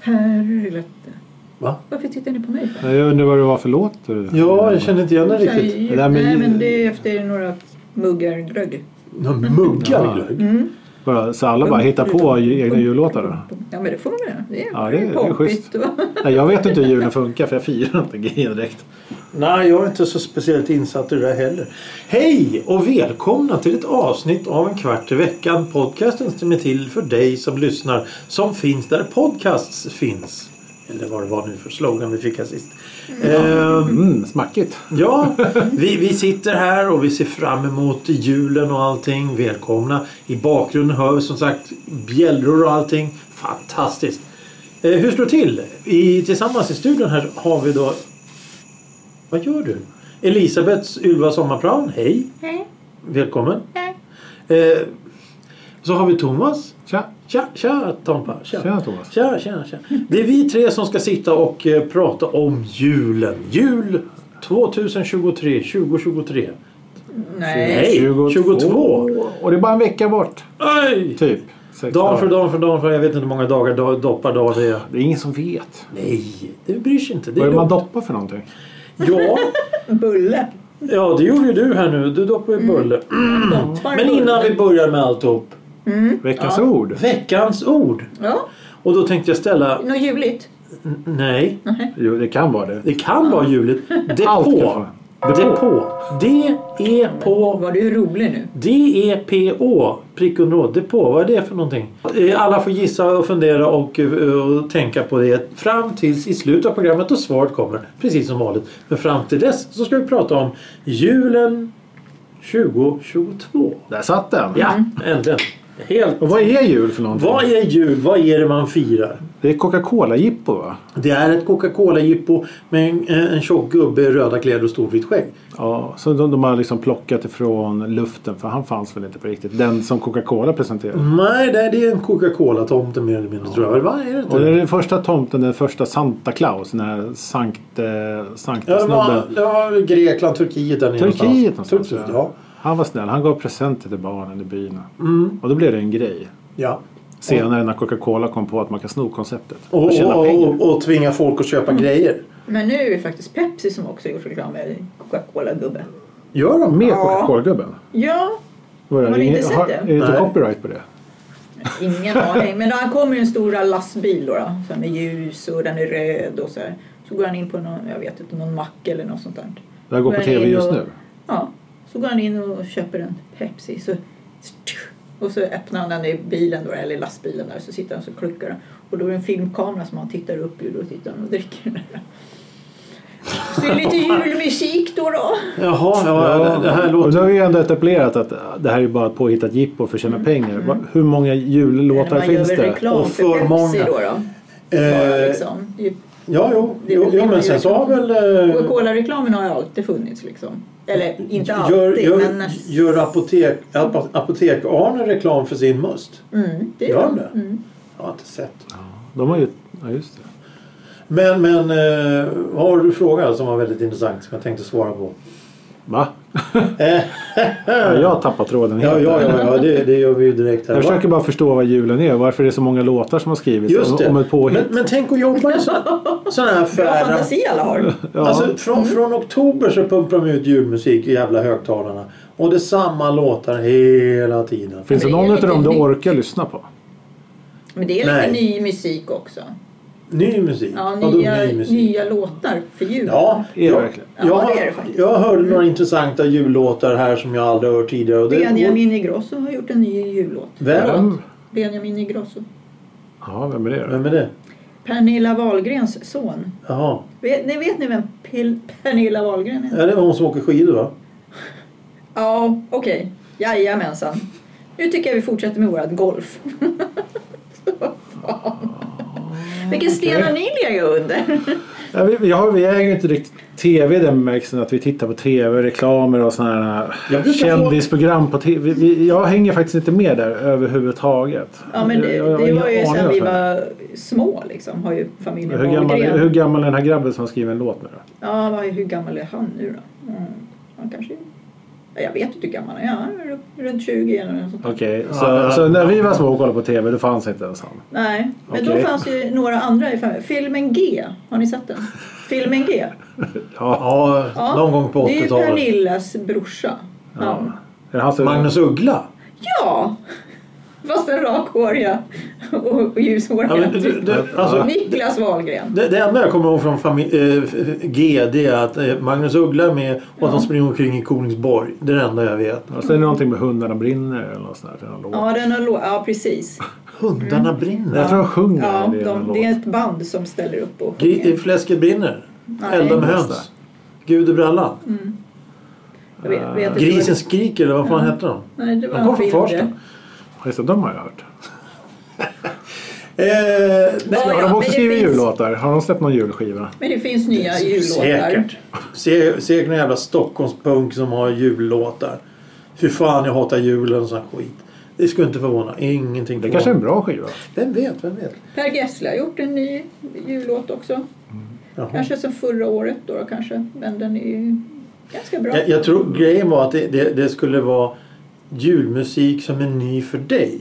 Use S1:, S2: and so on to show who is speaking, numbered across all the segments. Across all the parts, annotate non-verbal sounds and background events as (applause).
S1: Helvete.
S2: Va?
S1: Varför tittar ni på mig? för?
S3: Nej, Jag undrar vad det var för låt. du-
S2: Ja, jag känner inte igen den
S1: Så här,
S2: riktigt.
S1: ju-
S3: Nej, men-
S1: Nej, men det är efter några muggar glögg.
S2: Någon muggar
S3: Ja.
S2: glögg?
S1: Mm.
S3: Bara, så alla bara hittar på ju- egna jullåtar då?
S1: Ja, men det får man göra. Det är,
S3: Ja, det är- det är schysst.
S1: Och...
S3: Nej, jag vet inte hur julen funkar för jag firar inte grejen direkt.
S2: Nej, jag är inte så speciellt insatt i det där heller. Hej och välkomna till ett avsnitt av En kvart i veckan. Podcasten som är till för dig som lyssnar. Som finns där podcasts finns. Eller vad det var nu för slogan vi fick här sist. Ehm,
S3: Mm, smackigt.
S2: Ja, vi, vi sitter här och vi ser fram emot julen och allting. Välkomna. I bakgrunden hör vi som sagt bjällror och allting. Fantastiskt. Eh, hur står det till? I, tillsammans i studion här har vi då... Vad gör du? Elisabeth Ylva Sommarplan, hej.
S1: Hej.
S2: Välkommen.
S1: Hej.
S2: Eh, så har vi Thomas.
S3: Tja!
S2: Tja, tja Tompa. Tja.
S3: Tja, Thomas.
S2: Tja, tja, tja. Det är vi tre som ska sitta och eh, prata om julen. Jul 2023, 2023.
S1: Nej.
S2: 22. 22.
S3: Och det är bara en vecka bort.
S2: Aj!
S3: Typ. Sex
S2: Dag för
S3: dagar.
S2: dag för dag för jag vet inte hur många dagar dag, doppar dag det är.
S3: Det är ingen som vet.
S2: Nej, det bryr sig inte. Det
S3: Vad är det man
S2: lugnt.
S3: doppar för någonting?
S2: Ja,
S1: Bulle.
S2: ja, det gjorde ju du här nu. Du doppar ju bulle.
S1: Doppar
S2: Men
S1: bulle.
S2: innan vi börjar med alltihop. Mm.
S3: Veckans ord.
S2: Veckans ord.
S1: Ja,
S2: Och då tänkte jag ställa...
S1: något ljuvligt.
S2: n- Nej,
S3: Jo, det kan vara det.
S2: det kan vara juligt.
S3: Allt kan
S2: Depå.
S3: vara.
S2: Depå. D-E-P-Å.
S1: Var du rolig nu?
S2: D-E-P-Å, prick under E å, depå, vad är det för någonting? Eh, Alla får gissa och fundera och, eh, och tänka på det fram tills i slutet av programmet då svaret kommer, precis som vanligt. Men fram till dess så ska vi prata om julen 2022.
S3: Där satt den.
S2: Ja, äntligen. Helt.
S3: Och vad är jul för någonting?
S2: Vad är jul? Vad är det man firar?
S3: Det är Coca-Cola-jippo va?
S2: Det är ett Coca-Cola-jippo med en, eh, en tjock gubbe i röda kläder och stort vitt skägg.
S3: Ja, så de, de har liksom plockat ifrån luften för han fanns väl inte på riktigt. Den som Coca-Cola presenterade.
S2: Nej, det är- det är en Coca-Cola-tomte mer eller mindre tror jag. Eller vad är det inte?
S3: Och det är den första tomten, den första Santa Claus, den här Sankt, eh, Sankta
S2: Ja, det var,
S3: snubben.
S2: det var Grekland, Turkiet där nere
S3: Turkiet någonstans.
S2: Turkiet, ja.
S3: ja. Han var snäll, han gav presenter till barnen i byn. Och då blev det en grej.
S2: Mm, ja.
S3: Senare när Coca-Cola kom på att man kan sno konceptet.
S2: Och, Mm.
S3: Och tjäna
S2: och,
S3: pengar.
S2: och, och tvinga folk att köpa grejer.
S1: Men nu är det faktiskt Pepsi som också gjort reklam med Coca-Cola-gubbe.
S2: Gör de?
S3: Med
S1: Ja.
S3: Coca-Cola-gubben.
S1: Ja,
S3: Var
S1: Har
S3: det?
S1: ni
S3: Ingen-
S1: inte sett
S3: har-
S1: det?
S3: Är det inte
S2: Nej.
S3: copyright på det?
S1: ingen aning. Men han kommer i en stor lastbil då, då så här med ljus och den är röd och så här. Så går han in på någon, jag vet inte, någon mack eller något sånt där.
S3: Det här går
S1: Men
S3: på tv
S1: in
S3: just
S1: och-
S3: nu.
S1: Ja, så går han in och köper en Pepsi. Så, och så öppnar han den i bilen då, eller lastbilen där, så sitter han och så kluckar han. Och då är det en filmkamera som han tittar upp ur och tittar han och dricker den där. Så det är lite julmusik då då.
S2: Jaha, ja, det- det här
S3: och
S2: låter...
S3: nu har vi ju ändå etablerat att det här är bara ett påhittat jippo för att
S1: Mm.
S3: tjäna pengar. Va- Hur många jullåtar
S1: man gör
S3: finns
S1: väl
S3: det?
S1: reklam
S2: Och
S1: för,
S2: för
S1: Pepsi
S2: många.
S1: då. då. Bara
S2: Eh,
S1: liksom. Det är ju-
S2: ja, jo,
S1: Det är
S2: jo,
S1: väl-
S2: jo, men sen så har väl... eh,
S1: Coca-Cola-reklamen har ju alltid funnits liksom. Eller inte alltid,
S2: Gör,
S1: men...
S2: gör, gör apotek, ap- apotek-Arne reklam för sin must?
S1: Mm, det
S2: Gör
S1: gör
S2: de
S1: det.
S2: det? Jag har inte sett.
S3: De har ju... Ja, just det.
S2: Men, men eh, vad har du frågat som var väldigt intressant som jag tänkte svara på? (laughs)
S3: Va? Ja, jag har tappat tråden
S2: Ja,
S3: helt.
S2: ja, ja, ja det, det gör vi ju direkt här.
S3: Jag
S2: Va?
S3: försöker bara förstå vad julen är och varför det är så många låtar som har skrivits
S2: Just
S3: om,
S2: det.
S3: om ett påhitt.
S2: men, men tänk att jobba i så,
S1: (laughs)
S2: sådana här
S1: Bra
S2: affärer.
S1: fantasi alla har.
S3: Ja.
S2: Alltså, från, från oktober så pumpar de ut julmusik i jävla högtalarna. Och det är samma låtar hela tiden.
S3: Finns det
S1: Men det är
S3: någon
S1: lite
S3: utav dem du
S1: nytt.
S3: orkar lyssna på?
S1: Men det är lite
S2: Nej.
S1: ny musik också.
S2: Ny musik.
S1: Ja,
S2: Vadå
S1: nya,
S2: ny musik?
S1: nya låtar för jul.
S2: Ja,
S3: Är det
S2: jag,
S3: verkligen?
S2: Jag,
S1: Ja,
S2: har-
S1: det är det faktiskt.
S2: jag hörde några intressanta jullåtar här som jag aldrig hört tidigare. Och det,
S1: Benjamin Ingrosso har gjort en ny jullåt.
S2: Vem?
S1: Förlåt, Benjamin Ingrosso.
S3: Ja, vem är det då?
S2: Vem är det?
S1: Pernilla Wahlgrens son.
S2: Jaha.
S1: Vet ni, vet ni vem Pel- Pernilla Wahlgren är?
S2: Ja, det var hon som åker skidor va?
S1: Ja, okej. Jajamensan. Nu tycker jag vi fortsätter med vårat golf. (laughs) Så, fan. Vilken sten har ni legat under?
S3: Ja, vi, vi, har, vi äger ju inte riktigt tv i den bemärkelsen att vi tittar på tv, reklamer och sådana
S2: Jag
S3: här äh,
S2: brukar få-
S3: kändisprogram på tv. Vi, vi, jag hänger faktiskt inte med där överhuvudtaget.
S1: Ja, men det,
S3: Jag- jag har
S1: det
S3: ingen
S1: var ju
S3: aning
S1: sen
S3: om
S1: vi
S3: det.
S1: var små liksom. Har ju familjen
S3: Hur gammal,
S1: Wahlgren.
S3: hur gammal är den här grabben som har skrivit en låt nu då?
S1: Ja, vad, hur gammal är han nu då? Mm, han kanske... Jag vet inte hur gammal han är. Ja, r- runt 20 eller något sånt.
S3: Okej,
S2: Ja,
S3: så,
S2: det-
S3: så när vi var små och kollade på TV då fanns inte ens han.
S1: Nej, men då
S3: Okej.
S1: fanns ju några andra i familjen. Filmen G, har ni sett den? Filmen G.
S3: Ja.
S2: Ja,
S1: Ja,
S2: någon gång på
S1: Det är ju
S2: 80-talet.
S1: Pernillas brorsa. Han.
S3: Är det han som...
S2: Magnus Uggla.
S1: Ja! Fast den rakhåriga och och ljushåriga.
S2: Ja, men, du, du, alltså,
S1: Niklas Wahlgren.
S2: det, det enda jag kommer ihåg från fami- eh, f- G det är att eh, Magnus Uggla är med och att de springer omkring i Kolingsborg. Det är det enda jag vet.
S3: Och sen är det någonting med hundarna brinner eller något sånt där. till någon låt.
S1: Ja, den har lå- ja precis.
S2: Hundarna
S3: Mm.
S2: brinner.
S3: Jag tror de sjunger
S1: Ja,
S3: det i någon
S1: de,
S3: låt.
S1: det är ett band som ställer upp och
S2: G-
S1: sjunger.
S2: eh, Fläsket brinner.
S1: Nej,
S2: Elda med
S1: just
S2: höns. Gud i brallan.
S1: Jag vet, vet inte
S2: eh, Grisen
S1: vad
S2: skriker eller vad fan hette de?
S1: det- Nej, det var
S2: De kom
S1: en
S2: från
S1: film
S2: Farsta.
S1: det.
S3: Just det, de har jag hört.
S2: Eh, nej,
S1: Ja,
S3: har
S1: ja,
S3: de
S1: men
S3: också
S1: det
S3: skrivit
S1: finns-
S3: jullåtar? Har de släppt någon julskiva?
S1: Men det finns nya jullåtar.
S2: Säkert. Se, se någon jävla Stockholmspunk som har jullåtar. Fy fan jag hatar julen och sån skit. Det skulle inte förvåna. Ingenting
S3: Det kanske är en bra skiva.
S2: Vem vet, vem vet.
S1: Per Gessle har gjort en ny jullåt också.
S2: Jaha.
S1: Kanske som förra året då, då kanske. Men den är ju ganska bra.
S2: Jag, jag tror grejen var att det, det, det skulle vara julmusik som är ny för dig.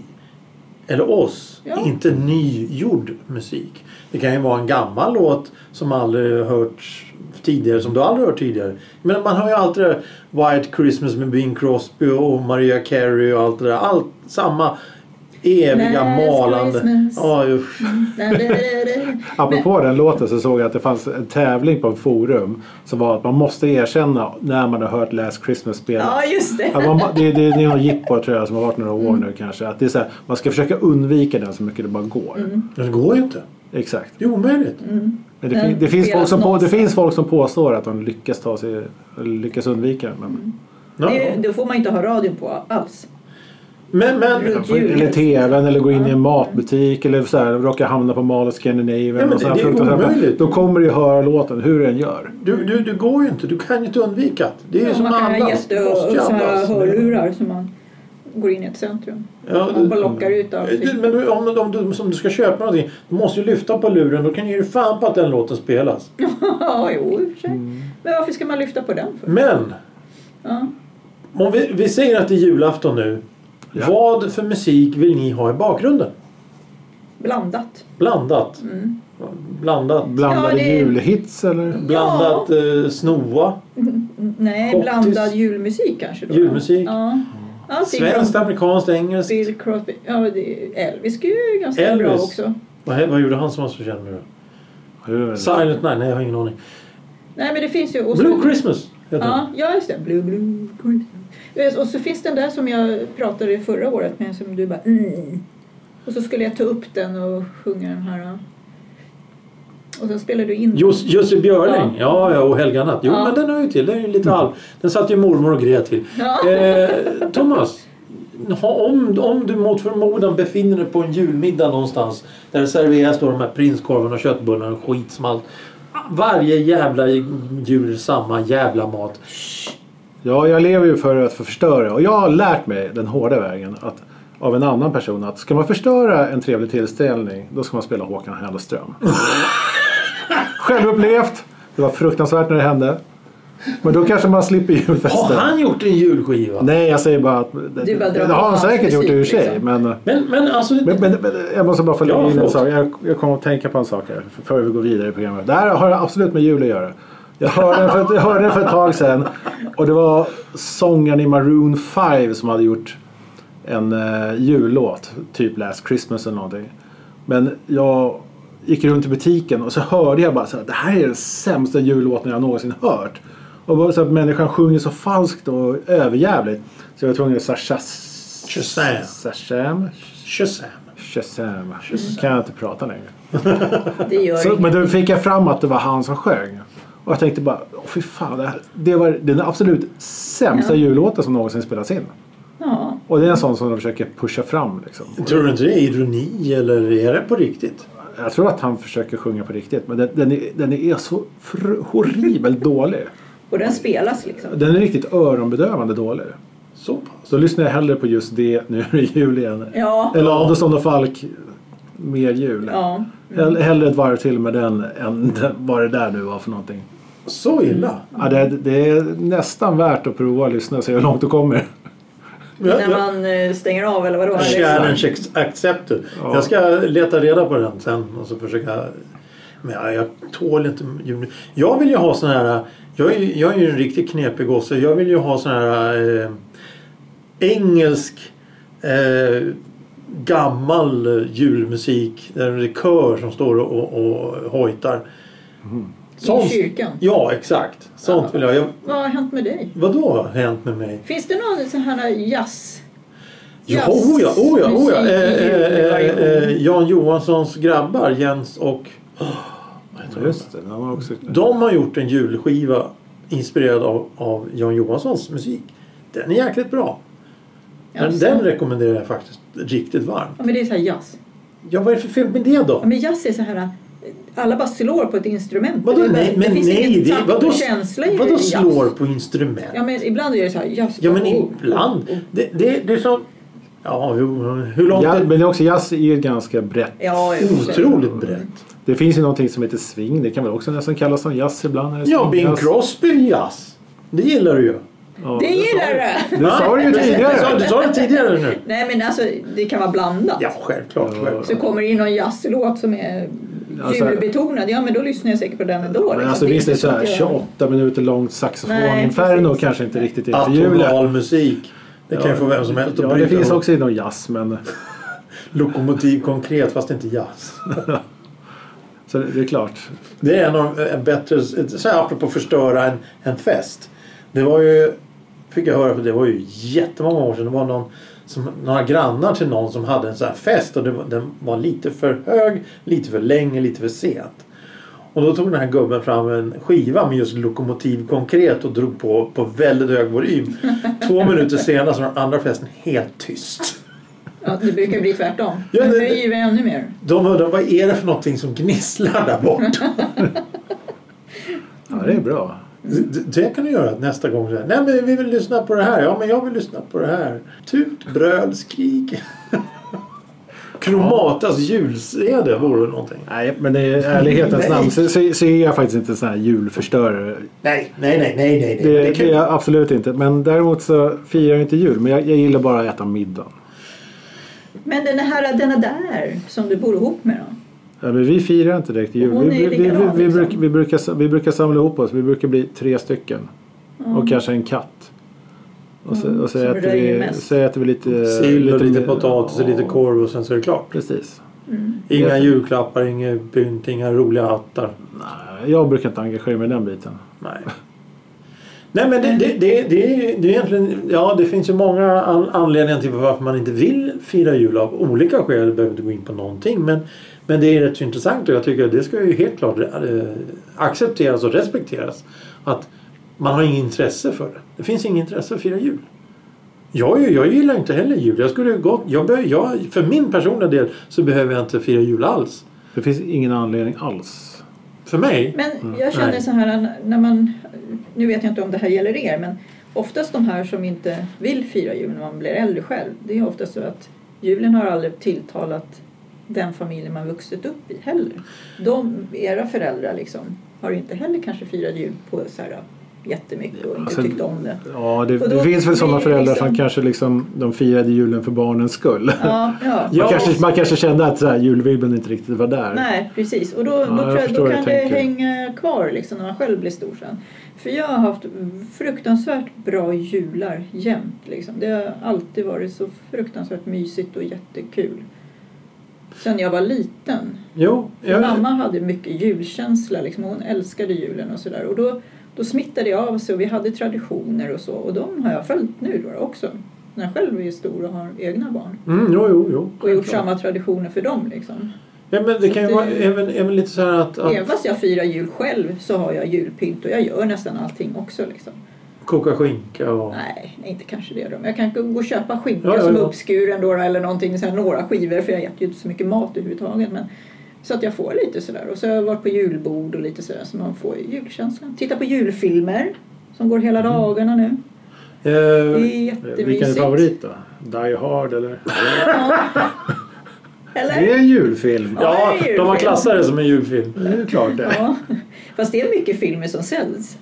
S2: Eller oss.
S1: Ja.
S2: Inte nygjord musik. Det kan ju vara en gammal låt som aldrig hörts tidigare, som du aldrig hört tidigare. Men man har ju alltid det där White Christmas med Bing Crosby och Maria Carey och allt det där. Allt samma eviga
S1: Last
S2: malande.
S1: Christmas. Mm.
S2: Ja, usch.
S1: Nej, det- det- det-
S3: Apropå den låten så såg jag att det fanns en tävling på en forum som var att man måste erkänna när man har hört Last Christmas spelas.
S1: Ja, just det.
S3: Ja, man, det, det, det är någon jippo tror jag som har varit några år nu kanske. Att det är så här, man ska försöka undvika den så mycket det bara går.
S1: Mm.
S2: Det går ju inte.
S3: Exakt.
S2: Det är omöjligt.
S3: Men det,
S1: Den
S3: fin, det, finns folk
S1: spelas
S3: som på, det
S1: någonstans.
S3: finns folk som påstår att de lyckas, ta sig, lyckas undvika den. Men,
S2: Ja.
S1: Det är ju- Då får man inte ha radion på alls.
S2: Men, men,
S1: Runt jul.
S3: Eller tvn eller gå in i en matbutik eller så här, råka hamna på Mall of Scandinavian.
S2: men
S3: och så
S2: det-
S3: här
S2: det är
S3: fruktansvärt.
S2: omöjligt.
S3: Då kommer du ju höra låten hur du än gör.
S2: Du, du, du går ju inte, du kan ju inte undvika det. Det är ju
S1: Ja,
S2: som
S1: man kan ha
S2: andas.
S1: jätte
S2: Du måste
S1: och
S2: ju
S1: så här
S2: andas.
S1: hörlurar som man går in i ett centrum.
S2: Ja,
S1: Man bara lockar ut
S2: du,
S1: allting.
S2: men du, om, om du, som du ska köpa någonting, du måste ju lyfta på luren. Då kan du ge dig fan på att den låten spelas.
S1: (laughs) Ja, jo, i och för sig. Men varför ska man lyfta på den för?
S2: Men,
S1: Ja.
S2: om vi, vi säger att det är julafton nu.
S3: Ja.
S2: Vad för musik vill ni ha i bakgrunden?
S1: Blandat.
S2: Blandat.
S1: Mm.
S2: Blandat.
S3: Blandade
S1: Ja, det-
S3: julhits eller?
S2: Blandat eh, snoa.
S1: Nej,
S2: Kortis.
S1: blandad julmusik kanske då.
S2: Julmusik.
S1: Ja. Allting från
S2: Svenskt, amerikanskt, engelskt.
S1: Bill Crosby. Ja, men det, Elvis är ju ganska
S2: Elvis.
S1: bra också.
S2: Vad, vad gjorde han som var så känd nu då?
S3: Hur-
S2: Silent Night? Nej, jag har ingen aning.
S1: Nej, men det finns ju... Och så,
S2: Blue Christmas heter den.
S1: Ja, ja, just det. Blue, blue, Christmas. Och så finns den där som jag pratade i förra året med som du bara... Mm. Och så skulle jag ta upp den och sjunga den här. ja. Och sen spelade du in den.
S2: Jos- Jussi Björling, ja. ja, och Helga Natt. Jo,
S1: Ja.
S2: men den hör ju till. Den är ju lite halv. Den satt ju mormor och grät till.
S1: Ja.
S2: Eh, Thomas, ha, om, om du mot förmodan befinner dig på en julmiddag någonstans där det serveras då de här prinskorvarna och köttbullarna och skit som allt. Varje jävla jul är samma jävla mat.
S3: Ja, jag lever ju för att få förstöra och jag har lärt mig den hårda vägen att, av en annan person att ska man förstöra en trevlig tillställning då ska man spela Håkan
S2: (laughs)
S3: Hellström. Självupplevt. Det var fruktansvärt när det hände. Men då kanske man slipper
S2: Har
S3: julfesten.
S2: han gjort en julskiva?
S3: Nej, jag säger bara att
S1: Du bara drar
S3: det
S1: på
S3: har han
S1: hans
S3: säkert gjort det i och för
S1: musik,
S3: sig.
S1: liksom.
S3: Men,
S2: Men, men alltså...
S3: men, men, men jag måste bara få lägga
S2: Ja,
S3: in en
S2: förlåt.
S3: sak. Jag, jag kommer att tänka på en sak här före vi går vidare i programmet. Det här har absolut med jul att göra. Jag hörde den för, jag hörde den för ett tag sedan och det var sångaren i Maroon 5 som hade gjort en eh, jullåt, typ Last Christmas eller någonting. Men jag gick runt i butiken och så hörde jag bara så här, det här är den sämsta jullåten jag någonsin hört. Och bara så att människan sjunger så falskt och överjävligt. Så jag var tvungen att säga Shaz-
S2: Shazam.
S3: Shazam.
S2: Shazam.
S3: Shazam. Kan jag inte prata längre.
S1: Det gör
S3: Så,
S1: inget.
S3: men då fick jag fram att det var han som sjöng. Och jag tänkte bara, åh fy fan. Det, här, det var den absolut sämsta jullåten som någonsin spelats in.
S1: Ja.
S3: Och det är en sån som de försöker pusha fram liksom.
S2: Tror du inte det är ironi eller är det på riktigt?
S3: Jag tror att han försöker sjunga på riktigt. Men den, den, är, den är så fr-
S1: (laughs)
S3: horribelt dålig.
S1: Och den spelas liksom.
S3: Den är riktigt öronbedövande dålig.
S2: Så pass.
S3: Så lyssnar jag hellre på just det nu i jul igen.
S1: Ja.
S3: Eller Andersson och Falk, mer jul.
S1: Ja.
S3: Hell- Hellre ett varv till med den än vad det där nu var för någonting.
S2: Så illa?
S3: Ja, det, det är nästan värt att prova att lyssna och se hur långt du kommer.
S2: Ja,
S1: När
S2: ja.
S1: man eh, stänger av eller vadå?
S2: Challenge accepted.
S3: Ja.
S2: Jag ska leta reda på den sen och så försöka... Men jag, jag tål inte jul. Jag vill ju ha sån här... Jag är, ju- jag är ju en riktigt knepig gosse. Jag vill ju ha sån här eh, engelsk eh, gammal julmusik. Där det är kör som står och, och hojtar.
S1: I kyrkan?
S2: Ja, exakt. Sånt vill jag. jag
S1: Vad har hänt med dig?
S2: vadå har hänt med mig?
S1: Finns det någon sån här jazz?
S2: Jo, oh ja, oh ja, oh ja.
S1: jazzmusik i
S2: Eh, eh, eh,
S1: julvariation?
S2: eh, Jan Johanssons grabbar, Jens och...
S3: Just det, den har också...
S2: De har gjort en julskiva inspirerad av, av Jan Johanssons musik. Den är jäkligt bra. Den,
S1: Jaså?
S2: den rekommenderar jag faktiskt riktigt varmt.
S1: Ja, men det är så här jazz.
S2: Ja, vad är det för fel med det då?
S1: Ja, men jazz är så här... eh, Alla bara slår på ett instrument.
S2: Vadå
S1: det, är bara-
S2: nej? Men
S1: det finns
S2: nej,
S1: ingen
S2: det,
S1: takt
S2: vadå,
S1: och känsla i
S2: vadå
S1: jazz.
S2: slår på instrument?
S1: Ja, men ibland är det så här jazz.
S2: Ja, men
S1: oh,
S2: ibland.
S1: oh, oh.
S2: Det, det, det är som... Ja, jo, hur långt...
S3: Ja, men
S2: är
S3: det är också jazz är ju ett ganska brett.
S1: Ja, i och för sig.
S2: Otroligt brett.
S3: Det finns ju någonting som heter swing. Det kan väl också nästan kallas som jazz ibland. eller
S2: Ja,
S3: swingjazz.
S2: Bing Crosby är jazz. Det gillar du ju.
S3: Ja,
S1: Det
S3: sa
S1: gillar
S3: du.
S1: du!
S3: Du sa det ju
S2: Ja, Du sa,
S3: tidigare.
S2: du sa det tidigare nu.
S1: Nej, men alltså det kan vara blandat.
S2: Ja, självklart.
S3: Ja.
S2: självklart.
S1: Så kommer det in någon jazzlåt som är
S3: Alltså-
S1: julbetonad, ja men då lyssnar jag säkert på den ändå.
S3: Men
S1: liksom.
S3: alltså visst är det så här
S1: inte så att jag-
S3: 28 minuter långt
S1: Nej,
S3: saxofoninferno
S1: precis.
S3: kanske inte riktigt är för julen.
S2: Atonal musik. Det kan ju få vem som helst att
S3: Ja, det
S2: bryta
S3: finns
S2: ihop.
S3: också inom jazz men
S2: Lokomotiv konkret fast inte jazz.
S3: så det det är klart.
S2: Det är en av en bättre... Så här apropå förstöra en, en fest. Det var ju... Fick jag höra för det var ju jättemånga år sedan. Det var någon som, några grannar till någon som hade en sån här fest och det, var- den var lite för hög, lite för länge, lite för sent. Och då tog den här gubben fram en skiva med just Lokomotiv konkret och drog på på väldigt hög volym. Två minuter senare så var den andra festen helt tyst.
S1: Ja, det brukar bli tvärtom. Ja,
S2: Ja, det-
S1: nu höjer vi ännu mer.
S2: De undrar vad är det för någonting som gnisslar där borta?
S3: Ja, det är bra.
S2: Det, det kan du göra nästa gång. Så här, Nej men vi vill lyssna på det här. Ja men jag vill lyssna på det här. Tut, bröl, (laughs) skrik. Kromatas jul-CD alltså vore någonting.
S3: Nej, men det är, i ärlighetens
S2: Nej.
S3: namn så, så, så är jag faktiskt inte en sån här julförstörare.
S2: Nej, nej, nej, nej,
S1: Eh,
S2: nej.
S3: Det,
S2: Det
S3: det är
S2: kan,
S3: jag absolut inte. Men däremot så firar jag inte jul. Men jag, jag gillar bara att äta middag.
S1: Men den här, denna där som du bor ihop med då?
S3: Ja, men vi firar inte direkt jul.
S1: Och
S3: Vi,
S1: hon är
S3: vi, vi, vi,
S1: likadan, liksom.
S3: bruk- vi, brukar, sa- vi brukar samla ihop oss. Vi brukar bli tre stycken.
S1: Mm.
S3: Och kanske en katt. Och så, och så,
S1: som
S3: äter,
S1: röjer
S3: vi,
S1: mest.
S3: så äter vi lite...
S2: Sill och eh, lite
S3: mer-
S2: potatis och lite
S3: Ja,
S2: korv och sen så är det klart.
S3: Precis.
S2: Inga
S3: Jag-
S2: julklappar, inga pynt, inga roliga hattar.
S3: Nej, jag brukar inte engagera mig i den biten.
S2: Nej. Nej men det, det, det, det, är ju- det är egentligen, ja det finns ju många an- anledningar till varför man inte vill fira jul av olika skäl. Jag behöver inte gå in på någonting. Men, men det är rätt så intressant och jag tycker att det ska ju helt klart eh, accepteras och respekteras. Att man har inget intresse för det. Det finns inget intresse att fira jul. Jag, är ju- jag gillar inte heller jul. Jag skulle ju gott, jag behöver, jag, för min personliga del så behöver jag inte fira jul alls.
S3: Det finns ingen anledning alls.
S2: För mig.
S1: Men jag känner
S2: Nej.
S1: så här när man, nu vet jag inte om det här gäller er, men oftast de här som inte vill fira jul när man blir äldre själv, det är oftast så att julen har aldrig tilltalat den familj man vuxit upp i heller. De, era föräldrar liksom, har inte heller kanske firat jul på så här jättemycket och inte
S3: Alltså,
S1: tyckt om det.
S3: Ja, det,
S1: Och då
S3: det finns
S1: blir
S3: väl sådana
S1: det
S3: föräldrar
S1: liksom-
S3: som kanske liksom, de firade julen för barnens skull.
S1: Ja, ja.
S2: Ja,
S3: Man, kanske,
S2: och-
S3: man kanske kände att så här, julvibben inte riktigt var där.
S1: Nej, precis. Och då,
S3: Ja,
S1: då,
S3: jag
S1: tror jag,
S3: förstår
S1: då
S3: hur
S1: kan
S3: du
S1: det
S3: tänker.
S1: hänga kvar liksom, när man själv blir stor sen. För jag har haft fruktansvärt bra jular jämt. Liksom. Det har alltid varit så fruktansvärt mysigt och jättekul. Sen jag var liten.
S2: Jo,
S1: För
S2: jag,
S1: Mamma hade mycket julkänsla. Liksom. Hon älskade julen och sådär. Och då, då smittade jag av sig och vi hade traditioner och så. Och de har jag följt nu då också. När jag själv är stor och har egna barn.
S2: mm, jo, jo, jo.
S1: Och gjort
S2: Självklart.
S1: samma traditioner för dem liksom.
S2: Ja, men det
S1: Så
S2: kan ju
S1: det-
S2: vara även, även lite så här att, att
S1: Även fast jag firar jul själv så har jag julpynt och jag gör nästan allting också. Liksom.
S2: koka skinka och...
S1: Nej, inte kanske det då. Men jag kan gå och köpa skinka
S2: Ja, ja,
S1: som är
S2: ja.
S1: uppskuren då eller någonting, så här, några skivor för jag äter ju inte så mycket mat överhuvudtaget. Men, så att jag får lite sådär. Och så har jag varit på julbord och lite sådär så man får ju julkänslan. Titta på julfilmer som går hela dagarna nu. Det
S2: Eh,
S1: är
S3: Vilken är
S1: jättemysigt.
S3: favorit då? Die Hard eller?
S1: Eller?
S3: Det är en julfilm.
S1: Ja,
S2: ja,
S1: det är ju
S2: de har
S1: fel.
S2: klassat det som en julfilm.
S3: Det är ju klart det.
S1: Ja. Fast det är mycket filmer som säljs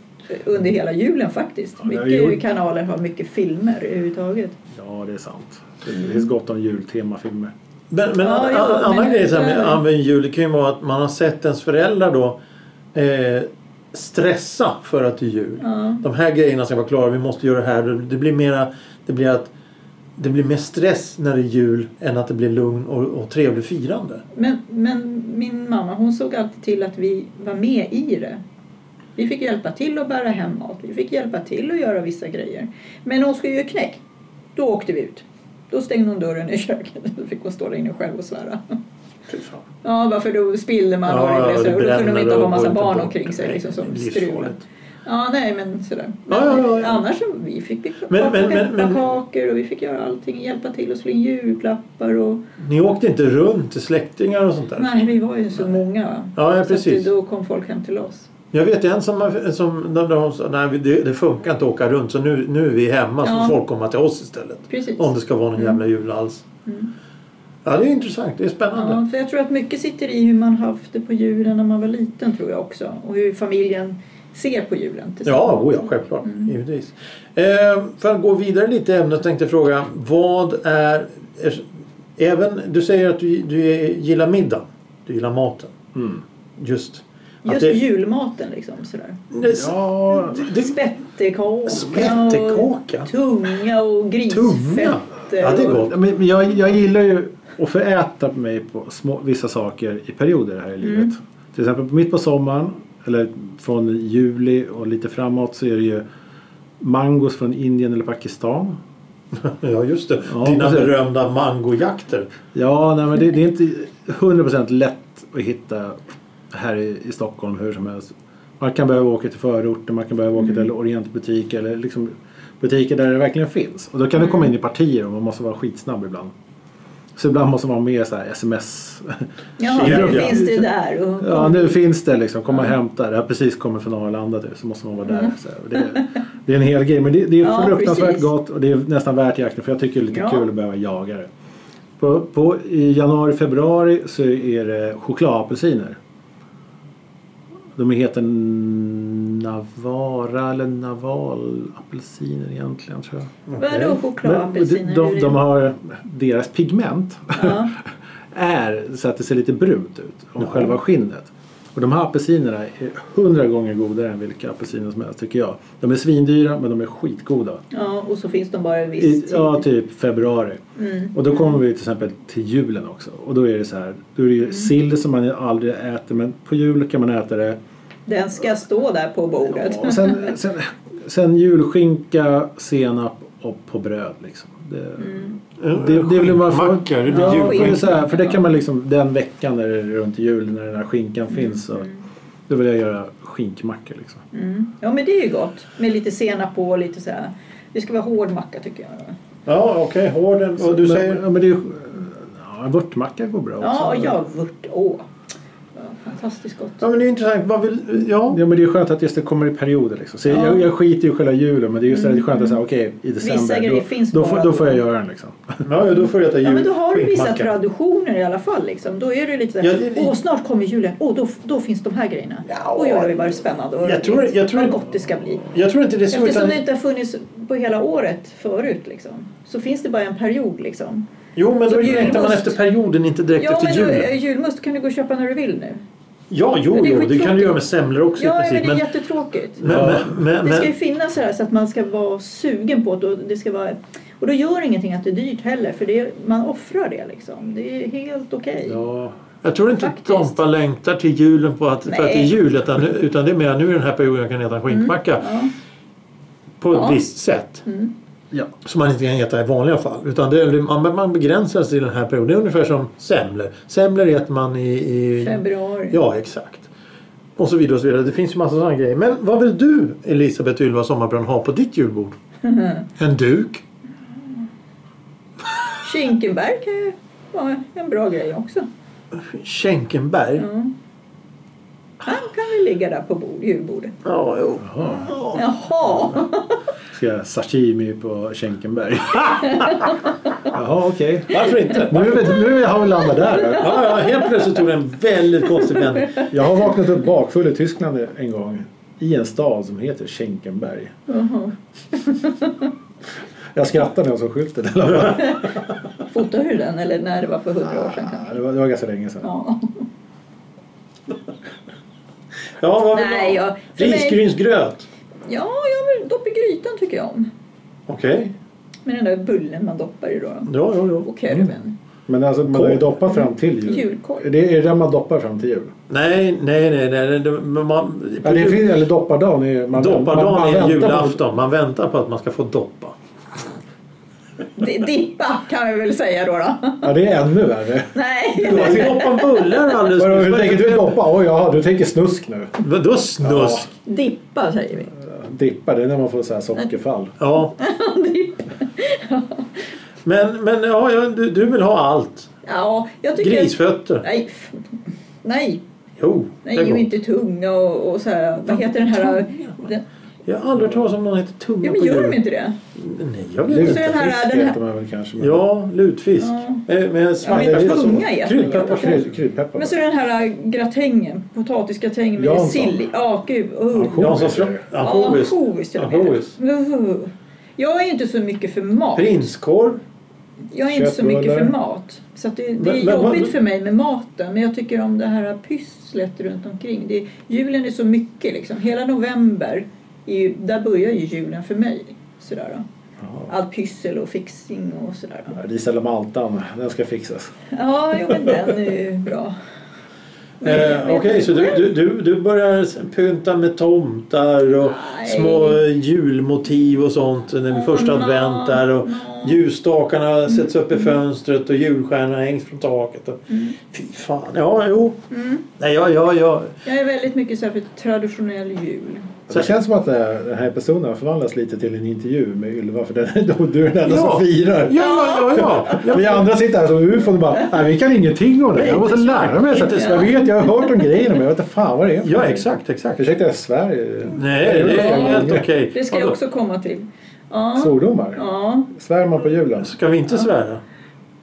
S1: under hela julen faktiskt.
S3: det har
S1: Mycket
S3: gjort-
S1: kanaler har mycket filmer överhuvudtaget.
S3: Ja, det är sant. Det finns gott om jultemafilmer.
S2: Men, men
S1: Ja,
S2: en
S1: ja,
S2: annan
S1: men-
S2: grej så här med
S1: ja.
S2: använd jul det kan ju vara att man har sett ens föräldrar då eh, stressa för att det är jul.
S1: Ja.
S2: De här grejerna ska vara klara, vi måste göra det här. Det blir mera, det blir att det blir mer stress när det är jul än att det blir lugn och, och trevligt firande.
S1: Men, men min mamma hon såg alltid till att vi var med i det. Vi fick hjälpa till att bära hem mat. Vi fick hjälpa till att göra vissa grejer. Men hon skulle ju knäck. Då åkte vi ut. Då stängde hon dörren i köket. (laughs) Då fick hon stå där inne själv och svära. Ja, varför då spillde man och det blev så. Och då kunde de inte ha massa barn omkring sig liksom, som strulade. Ja, nej men sådär. Men
S2: Ja, ja, ja, ja.
S1: annars så vi fick vi
S2: Men-
S1: baka-
S2: men- men- men-
S1: kakor och vi fick göra allting. Hjälpa till och slå in julklappar och
S2: Ni åkte inte runt till släktingar och sånt där?
S1: Nej, vi var ju så många. Va?
S2: Ja, ja,
S1: Så att
S2: precis.
S1: då kom folk hem till oss.
S2: Jag vet en som, som de, de sa nej vi- det, det funkar inte att åka runt så nu, nu är vi hemma så
S1: Ja. Mm.
S2: får folk komma till oss istället.
S1: Precis.
S2: Om det ska vara någon jävla jul alls. Ja det är intressant, det är spännande.
S1: Mm. Ja, för jag tror att mycket sitter i hur man haft det på julen när man var liten tror jag också. Och hur familjen ser på julen tillsammans.
S2: Ja, oh ja självklart.
S1: Mm.
S2: Givetvis. Eh, för att gå vidare lite i ämnet tänkte jag fråga vad är, är även, du säger att du, du gillar middag, du gillar maten.
S3: Mm.
S2: Just. att
S1: Just
S2: det-
S1: julmaten liksom sådär.
S2: det-
S3: Ja,
S2: det-
S1: Spettekaka.
S2: Spettekaka?
S1: Och tunga och
S2: Tunga?
S1: grisfetter.
S2: Ja, det är
S1: och-
S2: gott.
S3: Men men jag, jag gillar ju att få äta på mig på små, vissa saker i perioder här i
S2: Mm.
S3: livet. Till exempel mitt på sommaren, eller från juli och lite framåt så är det ju mangos från Indien eller Pakistan.
S2: Ja just det,
S3: Ja,
S2: dina
S3: precis.
S2: berömda mangojakter.
S3: Ja, nej, men det, det är inte 100% lätt att hitta här i, i Stockholm hur som helst. Man kan behöva åka till förorter, man kan behöva åka till orientbutiker eller liksom butiker där det verkligen finns. Och då kan det komma in i partier och man måste vara skitsnabb ibland. Så ibland måste man vara med så här sms.
S1: Jaha,
S2: Ja,
S1: nu
S2: ja.
S1: finns det där. Och
S3: Ja, nu finns det liksom. Kom och hämta. Det har precis kommit från Arlanda nu så måste man vara där. Så här. Och det, det är en hel grej. Men det, det är
S1: Mm. Ja,
S3: fruktansvärt
S1: precis.
S3: gott och det är nästan värt jakten för jag tycker det är lite
S1: Ja.
S3: kul att behöva jaga det. På, på, I januari, februari så är det chokladapelsiner. De heter Navara eller Navalapelsiner egentligen tror jag.
S1: Vadå
S3: Men de,
S1: chokladapelsiner?
S3: de, de har deras pigment
S1: Ja.
S3: är så att det ser lite brunt ut om själva skinnet. Och de här apelsinerna är hundra gånger godare än vilka apelsiner som helst tycker jag. De är svindyra men de är skitgoda.
S1: ja, och så finns de bara en
S3: I,
S1: viss tid. Mm.
S3: ja, typ februari. Och då kommer vi till exempel till julen också. Och då är det så här, då är det ju sill som man aldrig äter men på jul kan man äta det.
S1: Den ska stå där på bordet. (laughs)
S3: Och sen, sen, sen julskinka, senap och på bröd liksom. Det,
S1: Mm.
S3: Det, det vill man få,
S2: Mackor, det blir
S3: ja,
S1: julskinka.
S3: det är så här, för det kan man liksom den veckan när det är runt jul när den här skinkan finns så då vill jag göra skinkmackor liksom.
S1: Mm. Ja men det är ju gott. Med lite senap på och lite så här. Det ska vara hård macka tycker jag.
S2: Ja okej, hård en- och du
S3: men,
S2: säger?
S3: ja, men det är, ja, en vörtmacka går bra
S1: Ja och
S3: också.
S1: jag vört. Åh. Ja, fantastiskt gott.
S2: Ja men det är intressant, vad vill, ja.
S3: Ja men det är skönt att just det kommer i perioder liksom. Så
S1: Ja. Mm.
S3: jag, jag skiter ju i själva julen men det är just det här skönt att säga okej i december
S1: grejer
S3: då,
S1: finns
S3: då,
S1: bara
S3: får, då får jag
S1: då.
S3: göra den liksom.
S2: Ja, ja, då får jag äta jul.
S1: Ja men då har du vissa
S2: skinkmacka.
S1: traditioner i alla fall liksom. Då är det lite så här.
S2: Ja, det är li-
S1: Åh snart kommer julen. Åh då, då finns de här grejerna.
S2: Ja.
S1: Oj oj oj vad spännande och
S2: Jag tror-
S1: roligt.
S2: jag tror-
S1: Vad gott det ska bli.
S2: Jag tror inte det är så
S1: Eftersom
S2: utan...
S1: det inte har funnits på hela året förut liksom. Så finns det bara en period liksom.
S2: Jo men då
S1: Så
S2: räknar man
S1: julost.
S2: efter perioden, inte direkt
S1: Ja
S2: efter
S1: men då,
S2: julen.
S1: julmust kan du gå och köpa när du vill nu.
S2: Ja, jo,
S1: Men det är
S2: jo, det kan du
S1: skittråkigt.
S2: göra med semlor också i
S1: Ja men
S2: princip.
S1: det är
S2: Men,
S1: jättetråkigt.
S2: men, men, men,
S1: Det ska ju
S2: men,
S1: finnas så, här, så att man ska vara sugen på det och det ska vara och då gör det ingenting att det är dyrt heller för det, man offrar det liksom. Det är helt okej.
S3: Ja.
S2: jag tror inte
S1: Faktiskt.
S2: Tompa längtar till julen på att, för att det är
S1: Nej.
S2: jul. Utan, utan det är mer nu i den här perioden jag kan äta en skinkmacka.
S1: Ja.
S2: På ett
S1: Ja.
S2: visst sätt.
S3: Ja.
S2: Som man inte kan äta i vanliga fall. Utan det, är- man, man begränsas i den här perioden. Det är ungefär som semlor. Semlor äter man i... i
S1: Februari.
S2: Ja, exakt. Och så vidare och så vidare. Det finns ju massa sådana grejer. Men vad vill du, Elisabeth Ylva Sommarbrunn, ha på
S1: (laughs)
S2: ditt julbord? en duk?
S1: Schinkenberg kan ju vara en bra grej också.
S2: Schenkenberg?
S1: Mm. Han kan väl ligga där på bord, julbordet.
S2: Ja, jo.
S1: Jaha!
S3: Ska käka sashimi på Schenkenberg. (laughs) Jaha, okej.
S2: Varför inte?
S3: Nu, är vi- nu har vi landat där.
S2: Ja, ja, helt plötsligt tog det en väldigt konstig vändning.
S3: Jag har vaknat upp bakfull i Tyskland en gång. I en stad som heter Schenkenberg.
S1: Jaha.
S3: Jag skrattar när jag
S1: (laughs)
S3: såg skylten. eller vad?
S1: Fotade du den eller när det var för hundra år sedan
S2: Ah.
S1: kanske?
S3: Det var, det var ganska länge sedan.
S1: Ja.
S2: Ja, vad vill
S1: Nej,
S2: du ha?
S1: jag- för mig-
S2: Risgrynsgröt.
S1: ja, jag vill dopp i grytan tycker jag om.
S2: Okej.
S1: Med den där bullen man doppar i då.
S2: Ja, ja, ja.
S1: Och korven.
S3: Men alltså, man har ju doppat fram till jul.
S1: Julkorv.
S3: Det är det den man doppar fram till jul.
S2: Nej, nej, nej. nej, nej. det- men Man,
S3: Ja, det finns, eller doppardagen är ju... man- man- man
S2: Doppardagen är
S3: väntar på-
S2: julafton. Man väntar på att man ska få doppa.
S1: Di-
S2: Mm.
S1: Dippa kan vi väl säga då. då.
S3: Ja, det är ännu värre.
S1: Nej.
S2: Du har ju doppat bullar alldeles
S3: Vadå, hur
S2: Vad är det
S3: tänker
S2: för-
S3: du doppa? Oj, jaha, du tänker snusk nu.
S2: Vadå snusk?
S1: Dippa säger vi.
S3: Dippa, det är när man får så här sockerfall.
S2: Ja. men men ja, ja, du, du vill ha allt.
S1: Ja, jag tycker...
S2: Grisfötter.
S1: Nej. f- Nej.
S2: Jo,
S1: Nej,
S2: det är
S1: och
S2: gott.
S1: inte tunga och, och så här. Vad heter den här... Den,
S2: Jag har aldrig hört talas om någon heter tunga
S1: ja,
S2: på
S1: men gör
S2: jul.
S1: de inte det?
S2: Nej, jag vet inte.
S1: den här-
S3: Lutefisk
S1: den här-
S3: heter man väl kanske. men-
S2: Ja, lutfisk. Eh, Med
S1: men
S2: svarta
S1: tunga är
S2: Kryddpeppar.
S1: jättegott.
S3: Kryd- Kryddpeppar.
S1: Men så den här gratängen, potatisgratängen med
S3: Jansson.
S1: sill i. Ja, gud. Uh.
S3: Ja,
S2: Jansson
S3: Ansjovis.
S2: Fra- Ansjovis.
S1: Ansjovis till och med.
S2: Ansjovis.
S1: Uh. Jag är inte så mycket för mat.
S2: Prinskorv.
S1: Jag är inte så
S3: Köttbullar.
S1: mycket för mat. Så att det, det är
S2: Men- men-
S1: jobbigt
S2: men-
S1: för mig med maten. Men jag tycker om det här pysslet runt omkring. Det, julen är så mycket liksom. Hela november, är ju, där börjar ju julen för mig. Sådär då. Allt pyssel och fixing och sådär. Då.
S3: Ris eller maltan, den ska fixas.
S1: Ja, jo, men den är ju bra. Men jag
S2: Eh,
S1: vet
S2: Okej,
S1: inte
S2: så du,
S1: själv.
S2: du, du, du börjar pynta med tomtar och
S1: Nej.
S2: små julmotiv och sånt när vi första
S1: Åh,
S2: advent där och
S1: nej.
S2: ljusstakarna sätts upp i fönstret och julstjärnorna hängs från taket. Och,
S1: Mm.
S2: Fy fan, ja jo. Nej, ja, ja, ja.
S1: Jag är väldigt mycket så här för traditionell jul.
S3: Så det känns som att det här- den här episoden har förvandlats lite till en intervju med Ylva för den, (laughs) du är den enda
S2: Ja.
S3: som firar.
S2: Ja, ja, ja. ja.
S3: Vi andra sitter här som ufon och bara Nej, vi kan ingenting om det. Jag måste lära mig. Så
S2: Inte
S3: jag vet, jag har hört om grejerna men jag vet inte fan vad det är. för
S2: ja
S3: någonting.
S2: exakt, exakt.
S3: Ursäkta, är Sverige?
S2: Nej, det är
S1: Ja.
S2: helt okej.
S1: Det ska jag
S2: Alltså-
S1: också komma till. Ja,
S3: Svordomar?
S1: ja.
S3: Svär man på julen?
S2: Ska vi inte svära?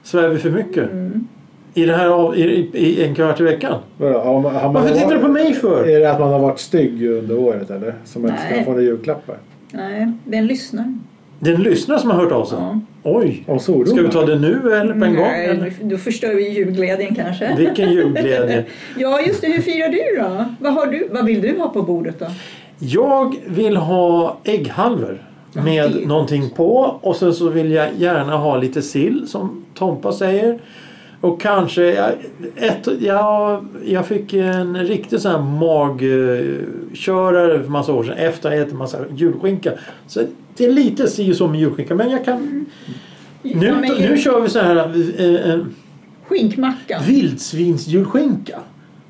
S2: Svär vi för mycket?
S1: Mm.
S2: I, det här, av- i, i, i en kvart i veckan?
S3: Vadå, har man- har man
S2: Varför tittar du på mig för?
S3: Är det att man har varit stygg under året eller? Som man inte ska
S1: Nej.
S3: få några julklappar?
S1: Nej, den lyssnar.
S2: Det är en lyssnare som har hört av sig.
S1: Ja.
S2: Oj!
S3: Om svordomar?
S2: Ska vi ta det nu eller på en gång? eller?
S1: Nej, då förstör vi julglädjen kanske.
S2: Vilken julglädje!
S1: Ja, just det. Hur firar du då? Vad, har du, vad vill du ha på bordet då?
S2: Jag vill ha ägghalvor med
S1: det är gott.
S2: någonting på och sen så vill jag gärna ha lite sill som Tompa säger. Och kanske, jag, ett, jag, jag fick en riktig sån här magkörare för massa år sedan efter att jag ätit massa julskinka. Så det är lite si och så med julskinka men jag kan... Nu,
S1: Mm. Ja, men
S2: nu
S1: jul-
S2: kör vi så här eh, eh,
S1: Skinkmacka.
S2: vildsvinsjulskinka.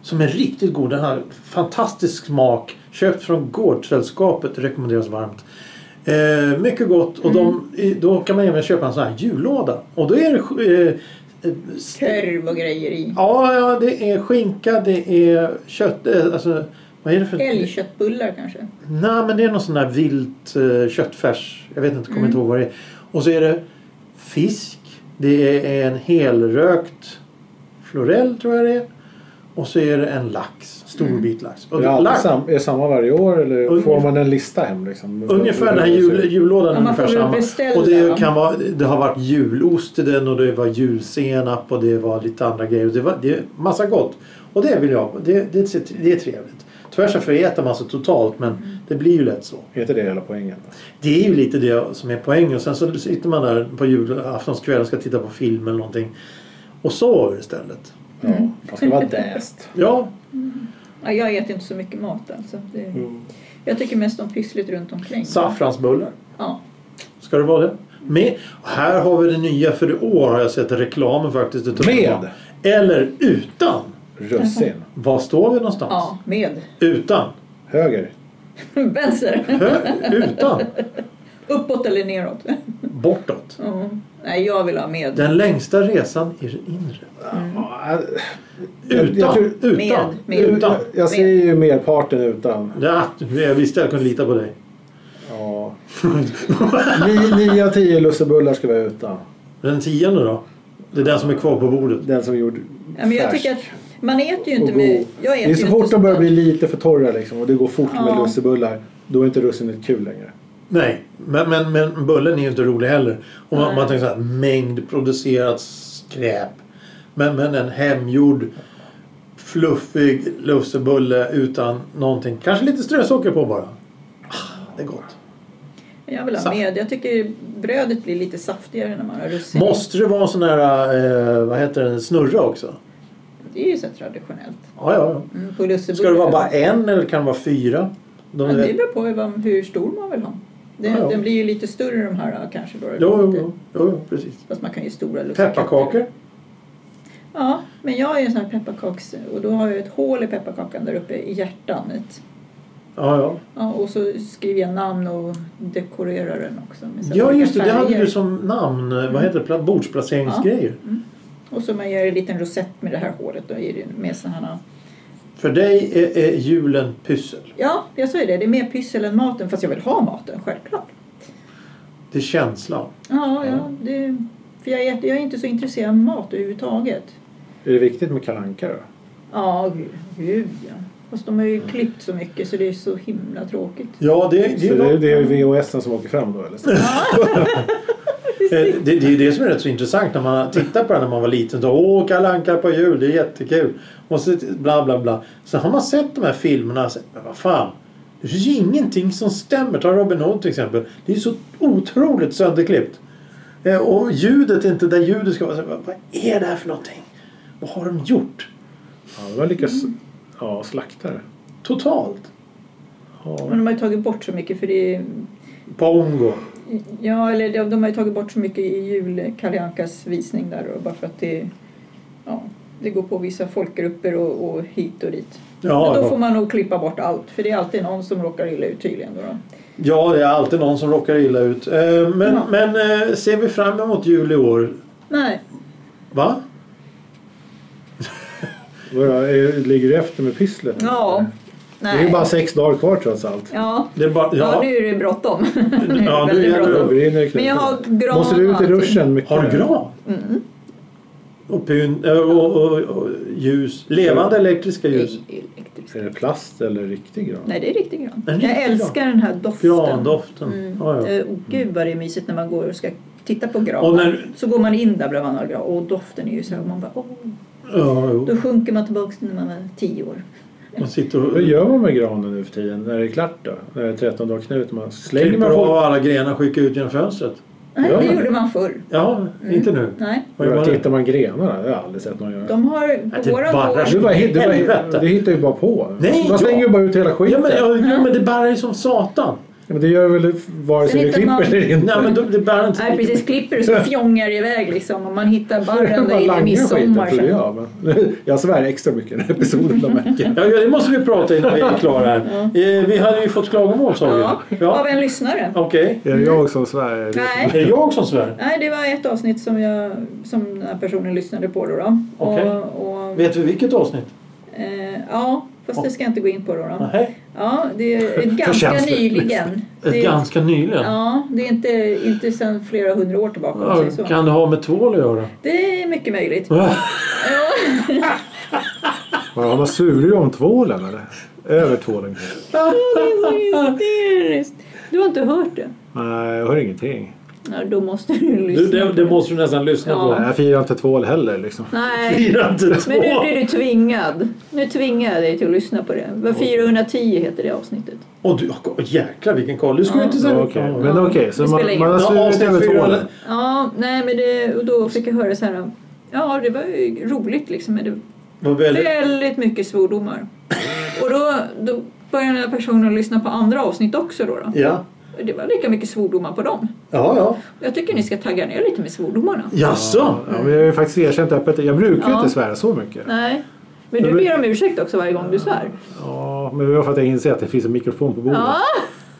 S2: Som är riktigt god. Den har fantastisk smak. Köpt från Gårdssällskapet. Rekommenderas varmt. Eh, mycket gott. Och de, i- då kan man även köpa en sån här jullåda. Och då är det... sk- Eh, eh, s-
S1: Korv och grejer i.
S2: ja, ja, det är skinka, det är kött... Eh, alltså, vad är det för...
S1: Älgköttbullar kanske.
S2: Nej, men det är någon sån där vilt eh, köttfärs. Jag vet inte, kommer inte ihåg vad det är. Och så är det fisk. Det är en helrökt florell tror jag det är. Och så är det en lax. Stor bit lax. Och
S3: Är Mm. det alltid
S2: lax
S3: sam, är det samma varje år eller
S2: Ungef-
S3: får man en lista hem? Liksom?
S2: Ungefär den här jul, jullådan.
S1: Ja,
S2: är
S1: man får
S2: ungefär
S1: väl
S2: samma.
S1: beställa.
S2: Och det, kan vara, det har varit julost i den och det var julsenap och det var lite andra grejer. Det, var, det är massa gott. Och det vill jag. Det, det, det är trevligt. Tvärs och äter man så totalt men
S1: Mm.
S2: det blir ju lätt så.
S3: Är inte det hela poängen?
S2: Det är ju lite det som är poängen. Och sen så sitter man där på julaftonskväll och ska titta på film eller någonting. Och sover istället.
S1: Mm.
S3: Ja, man ska vara däst.
S2: Ja,
S1: Ja, jag äter inte så mycket mat alltså. Det, Jag tycker mest om pysslet runt omkring.
S2: saffransbullar.
S1: Ja.
S2: Ska det vara det? Med. Och här har vi det nya för i år har jag sett reklamen faktiskt. utav-
S3: Med?
S2: Eller utan.
S3: Russin.
S2: Var står vi någonstans?
S1: ja, med. (laughs)
S2: Utan.
S3: Höger.
S1: Vänster.
S2: Hö- utan.
S1: Uppåt eller neråt.
S2: Bortåt.
S1: Ja. Nej, jag vill ha med.
S2: Den längsta resan är den inre. Mm.
S3: Ja, Jag-
S2: Utan.
S3: jag tror-
S2: utan.
S1: Med.
S2: Utan.
S3: Jag, jag ser ju merparten utan.
S2: Ja, vi visste jag kunde lita på dig.
S3: Ja. Ja. Ni- Nio av tio lussebullar ska vara utan.
S2: Den tionde då? Det är den som är kvar på bordet.
S3: Den som är gjord
S1: Ja, men jag
S3: färsk
S1: tycker att man äter ju inte
S3: och god.
S1: med... Jag äter
S3: Det är
S1: ju
S3: så
S1: inte
S3: fort de
S1: sånt
S3: börjar
S1: där.
S3: bli lite för torra liksom, och det går fort med
S1: Ja.
S3: lussebullar. Då är inte russinet kul längre.
S2: Nej, men, men, men bullen är ju inte rolig heller. Om man,
S1: Nej.
S2: man tänker så här, mängd producerat skräp. Men, men en hemgjord fluffig lussebulle utan någonting. Kanske lite strösocker på bara. Ah, det är gott.
S1: Men Jag vill ha
S2: Saft.
S1: med. Jag tycker brödet blir lite saftigare när man har russin.
S2: Måste det vara en sån där, eh, vad heter den, snurra också?
S1: Det är ju så här traditionellt.
S2: Ja, ja.
S1: Mm, på
S2: ja.
S1: lussebullar.
S2: Ska det vara bara en eller kan det vara fyra? De,
S1: Ja, det beror på hur, vad- hur stor man vill ha. Den,
S2: Ja, ja.
S1: den blir ju lite större de här kanske. Då,
S2: jo, jo, jo, jo, precis.
S1: Fast man kan ju stora lussekatter.
S2: Pepparkakor?
S1: Ja, men jag är ju en sån här pepparkaks... Och då har jag ett hål i pepparkakan där uppe i hjärtan. Ett.
S2: Ja, ja.
S1: Ja, och så skriver jag namn och dekorerar den också. Med så här
S2: Ja,
S1: olika
S2: just det. Det hade
S1: färger.
S2: du som namn. eh, Vad heter det? Pla- Bordsplaceringsgrejer.
S1: Och så man gör en liten rosett med det här hålet. Då är det med sån här...
S2: För dig är, är julen pyssel.
S1: Ja, jag sa ju det. Det är mer pyssel än maten. Fast jag vill ha maten, självklart.
S2: Det är känslan.
S1: Ja,
S2: Ja.
S1: ja. Det, för jag är, jag är inte så intresserad av mat överhuvudtaget.
S3: Är det viktigt med kalanka då?
S1: Ja, gud, gud ja. Fast de har ju klippt så mycket så det är så himla tråkigt.
S2: Ja, det, det,
S3: Så
S2: är,
S3: det,
S2: nog-
S3: det är VHSen som åker fram då eller? Så.
S2: eh, det, det är det som är rätt så intressant när man tittar på den när man var liten. Så, Åh, Kalle Anka på jul, det är jättekul. Och så bla bla bla. Sen har man sett de här filmerna. Så, men vad fan. Det finns ju ingenting som stämmer. Ta Robin Hood till exempel. Det är ju så otroligt sönderklippt. Eh, Och ljudet är inte där ljudet ska vara. Så, Vad vad är det här för någonting? Vad har de gjort?
S3: Ja, de har lyckats ja, slakta det.
S2: Totalt.
S1: Men de har ju tagit bort så mycket för det är,
S2: Pongo.
S1: Ja, eller de, de har ju tagit bort så mycket i jul Kalle Ankas visning där och bara för att det... Ja, det går på vissa folkgrupper och, och hit och dit.
S2: Ja,
S1: Men då
S2: ja.
S1: får man nog klippa bort allt för det är alltid någon som råkar illa ut tydligen. Då, då.
S2: Ja, det är alltid någon som råkar illa ut. Eh, Men,
S1: Ja.
S2: men eh, ser vi fram emot jul i år?
S1: Nej,
S2: Va?
S3: Vadå, är- Ligger du efter med pysslet?
S1: ja.
S3: Det är ju
S1: Nej.
S3: bara sex dagar kvar trots allt.
S1: Ja.
S2: Det är bara,
S1: Ja,
S2: ja.
S1: nu är det bråttom. (laughs) nu är det
S2: Ja, nu
S1: väldigt
S2: gäller det.
S1: bråttom.
S3: Vi hinner ju knäcka
S1: Men jag har
S3: det.
S1: gran
S3: Måste du ut i
S1: och allting.
S3: ruschen mycket?
S2: Har du
S3: nu?
S2: gran?
S1: Mm.
S2: Och, pyn, eh, och, och, och ljus. Levande elektriska ljus.
S1: Elektrisk.
S3: Är det plast eller riktig gran?
S1: Nej, det är riktig gran.
S2: En
S1: jag
S2: riktig
S1: älskar den här doften.
S2: Grandoften.
S1: Mm.
S2: Ja, ja.
S1: Eh, och gud vad det är mysigt när man går och ska titta på granen.
S2: Och när-
S1: Så går man in där bland andra gran och doften är ju så här. Man bara, åh.
S2: ja jo.
S1: Då sjunker man tillbaka till när man var tio år.
S2: Man sitter och
S3: Vad gör man med granen nu för tiden när det är klart då? När det är 13 dagar knut? Man slänger
S2: klipper
S3: man folk?
S2: av alla grenar och skickar ut genom fönstret.
S1: Nej,
S3: Gör
S1: det
S3: man
S1: gjorde man förr.
S2: Ja,
S1: Mm.
S2: inte nu.
S1: Nej.
S2: Vad gör man nu?
S3: Tittar man grenarna? Det har jag aldrig sett någon göra.
S1: De har
S2: det
S1: på våran
S2: bara-
S1: gård.
S3: Du, bara, hit- du,
S2: Helvete.
S3: bara, du hittar ju bara på.
S2: Nej,
S3: man slänger
S2: ja.
S3: ju bara ut hela
S2: Ja,
S3: skiten.
S2: men, ja, jo, men det bär ju som satan.
S3: Ja, men det gör väl vare
S1: Sen
S3: sig du
S1: hittar
S3: klipper
S1: man-
S3: eller inte.
S2: Nej, men det, det bär inte.
S1: Nej, precis. Klipper du så fjongar det iväg liksom. Och man
S2: (laughs)
S1: hittar barren
S3: bara
S1: där i
S3: langar
S1: midsommar.
S3: tror
S1: sen.
S3: jag. Men, jag svär extra mycket i den här episoden. de märker.
S2: Ja, ja, det måste vi prata innan vi är klara här. Eh, Vi hade ju fått klagomål sa vi.
S1: Mm. Ja. Av en lyssnare.
S2: Okej.
S3: (laughs) Är det jag som svär?
S1: Nej.
S2: Är det jag som svär?
S1: Nej, det var ett avsnitt som, jag, som den här personen lyssnade på då. då.
S2: Okej.
S1: Och, och,
S2: Vet vi vilket avsnitt?
S1: eh, ja, fast det ska jag inte gå in på då. då.
S2: Nej.
S1: Ja, det är ett ganska
S2: känsligt.
S1: nyligen.
S2: Ett
S1: Det,
S2: ganska nyligen?
S1: Ja, det är inte, inte sedan flera hundra år tillbaka. om man
S2: Ja,
S1: säger så.
S2: kan det ha med tvål att göra?
S1: Det är mycket möjligt.
S3: Vad har man surig om tvålen eller? Över tvålen kanske?
S1: Hysteriskt. Du har inte hört det?
S3: Nej, jag hör ingenting.
S1: Ja, då måste du lyssna.
S2: Du, det, det måste du nästan lyssna
S1: Ja.
S2: på.
S3: Nej, jag firar inte tvål heller liksom.
S1: Nej,
S2: Fira inte två!
S1: men nu blir du tvingad. Nu tvingar jag dig till att lyssna på det. Det var 410 heter det avsnittet.
S2: Åh, du, åh, jäklar vilken koll. Du skulle
S1: Ja.
S2: inte säga...
S3: Ja, okej.
S2: Ja.
S3: Men okej,
S1: Det
S3: så man,
S1: spelar
S3: man har
S2: ingen roll.
S3: surit över
S2: Avsnitt fyra.
S3: tvålen.
S1: Ja, nej men det, och då fick jag höra så här. Ja, det var ju roligt liksom. Men det
S2: Vad
S1: var
S2: väldigt...
S1: väldigt mycket svordomar. Och då, då började den här personen lyssna på andra avsnitt också då. då.
S2: Ja.
S1: Och Det var lika mycket svordomar på dem.
S2: Ja, ja.
S1: Jag tycker ni ska tagga ner lite med svordomarna.
S2: Jaså?
S3: Ja, men jag har ju faktiskt erkänt öppet. Jag brukar ju
S1: Ja.
S3: inte svära så mycket.
S1: Nej. Men du ber om ursäkt också varje gång du svär.
S3: Ja, men det var för att jag inser att det finns en mikrofon på bordet.
S1: Ja.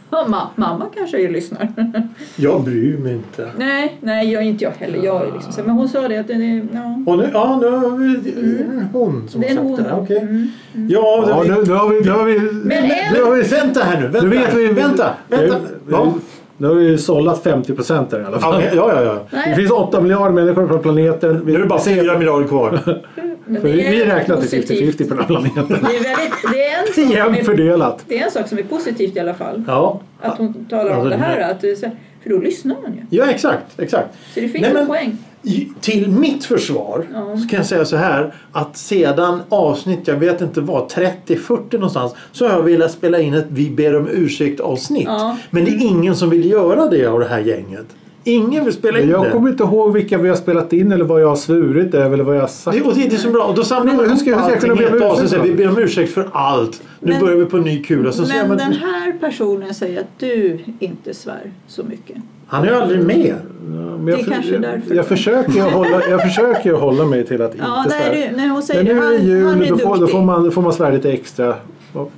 S1: Ja, ma- mamma kanske ju lyssnar. (laughs)
S2: Jag bryr mig inte.
S1: nej, nej, jag är inte jag heller. Jag är liksom så här, men hon sa det att det är... Ja.
S2: Och nu, ja, nu har vi mm. hon som
S1: Det är en
S2: har sagt det. här.
S1: hon. Mm,
S2: Okej. Ja,
S3: Ja,
S2: det-
S3: nu, nu har vi... Nu har vi
S1: Men en-
S3: nu har vi
S2: Vänta här nu. Vänta.
S3: Nu vet vi-
S2: Vänta. vänta.
S3: Nu-
S2: Ja.
S3: nu- Nu har vi ju sållat 50% där i alla fall.
S2: Ja, ja, ja.
S3: Det
S1: Nej,
S3: finns 8 miljarder människor på planeten. Vi,
S2: Nu är det bara 4 miljarder kvar.
S1: men
S3: för vi,
S1: det är
S3: vi räknar till
S1: positivt.
S3: 50-50 på den
S1: (laughs)
S3: här planeten.
S1: Det är, väldigt, det, är en sak
S3: (laughs)
S1: som
S3: Jämnt
S1: är,
S3: fördelat.
S1: det är en sak som är positivt i alla fall.
S2: Ja.
S1: Att hon talar om
S2: Alltså,
S1: det här. Att det är så här för då lyssnar man ju.
S2: ja, exakt. exakt.
S1: Så det finns
S2: Nej, men-
S1: en poäng.
S2: I- Till mitt försvar
S1: Ja.
S2: så kan jag säga så här att sedan avsnitt, jag vet inte vad, 30-40 någonstans så har jag velat spela in ett Vi ber om ursäkt avsnitt.
S1: Ja.
S2: Men det är ingen som vill göra det av det här gänget. Ingen vill spela in det.
S3: Jag kommer inte ihåg vilka vi har spelat in eller vad jag har svurit över eller vad jag har sagt.
S2: Det, och det, det är så bra. Och då samlar man
S3: Men hur
S2: ihop
S3: ska jag- hur ska jag
S2: allting
S3: kunna
S2: i
S3: be om
S2: ett
S3: ursäkt
S2: avsnitt. och säger,
S3: då?
S2: Vi ber om ursäkt för allt. Nu
S1: Men-
S2: börjar vi på en ny kula.
S3: Alltså,
S2: Så säger
S1: Men
S2: man,
S1: den här personen säger att du inte svär så mycket.
S2: Han är ju aldrig med.
S3: Men
S1: Det är kanske
S3: jag,
S1: därför.
S3: jag, jag försöker ju hålla, jag försöker ju hålla mig till att
S1: Ja,
S3: inte
S1: nej,
S3: svära.
S1: du, nej, hon säger
S3: Men nu är det
S1: han, han
S3: jul,
S1: är
S3: då får, då
S1: duktig.
S3: får man, då får man svära lite extra. Och-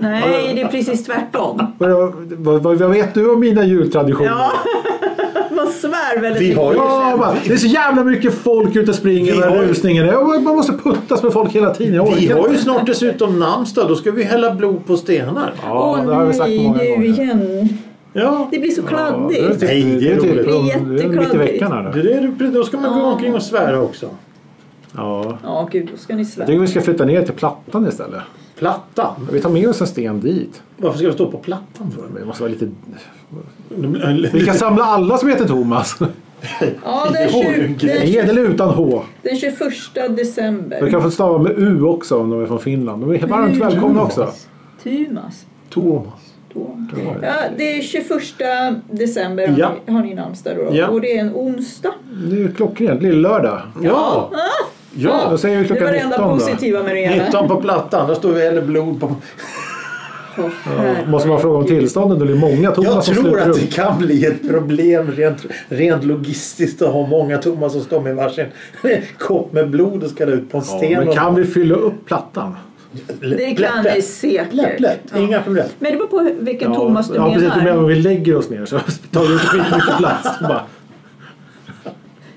S1: Nej, det är precis
S3: (laughs)
S1: tvärtom.
S3: Vad, vad, vad vad vet du om mina jultraditioner?
S1: Ja, (laughs) man svär väldigt
S2: Vi har ju-
S3: Ja, va, det är så jävla mycket folk ute och springer
S2: Vi
S3: med
S2: har ju-
S3: rusningen. Jag- Man måste puttas med folk hela tiden. Jag
S2: Vi
S3: orkar
S2: har ju
S3: inte.
S2: snart dessutom namnsdag. Då ska vi hälla blod på stenar.
S3: Ja,
S1: Åh
S3: det har vi sagt
S1: nej,
S3: många
S1: nu
S3: gånger.
S1: igen.
S2: Ja.
S1: Det blir så
S3: Ja, det är
S1: kladdigt.
S3: typ-
S2: Nej, det är
S3: typ-
S2: roligt.
S1: Det är
S3: Det är mitt i
S1: jättekladdigt.
S3: veckan här
S2: Det
S3: nu.
S2: är det, då ska man gå
S1: Ja.
S2: omkring och svära också.
S3: Ja.
S1: Ja, gud, då ska ni
S3: Jag
S1: svära.
S3: tycker vi ska flytta ner till Plattan istället.
S2: Plattan?
S3: Vi tar med oss en sten dit.
S2: Varför ska vi stå på plattan för?
S3: Vi måste vara lite... Vi
S2: Vilka
S3: kan samla alla som heter Thomas.
S1: Ja, den,
S2: Det vore ju
S1: 20,
S2: en grej.
S1: den,
S3: Med eller utan H.
S1: den 21
S3: De
S1: december.
S3: kan få stava med U också om de är från Finland. De är varmt välkomna också.
S1: Tumas.
S2: Thomas.
S1: Då. Ja, det är 21 december
S2: Ja.
S1: har ni- har ni namnsdag då.
S2: Ja.
S1: Och det är en onsdag.
S3: Det är ju klockrent. Lill-lördag.
S2: Ja!
S3: Då
S2: Ja!
S3: säger vi
S1: Det
S3: klockan
S1: var det enda
S3: 19 då.
S1: positiva med det hela.
S2: 19 på plattan, där står vi och häller blod på...
S1: Åh, herregud.
S3: Måste man fråga om tillståndet? Det blir många
S2: Jag
S3: Thomas som
S2: tror
S3: sluter
S2: att
S3: upp.
S2: det kan bli ett problem rent, rent logistiskt att ha många Thomas som står med varsin (laughs) kopp med blod och ska ut på en sten.
S3: Ja, men
S2: och-
S3: kan vi fylla upp plattan?
S1: Det
S2: Lätt,
S1: kan
S2: lätt,
S1: ni säkert.
S2: Lätt, lätt.
S1: Ja.
S2: Inga problem.
S1: Men det beror på hur- vilken
S3: ja,
S1: Thomas du
S3: ja,
S1: menar.
S3: precis. Du menar om vi lägger oss ner så (laughs) tar vi inte skitmycket plats. Bara,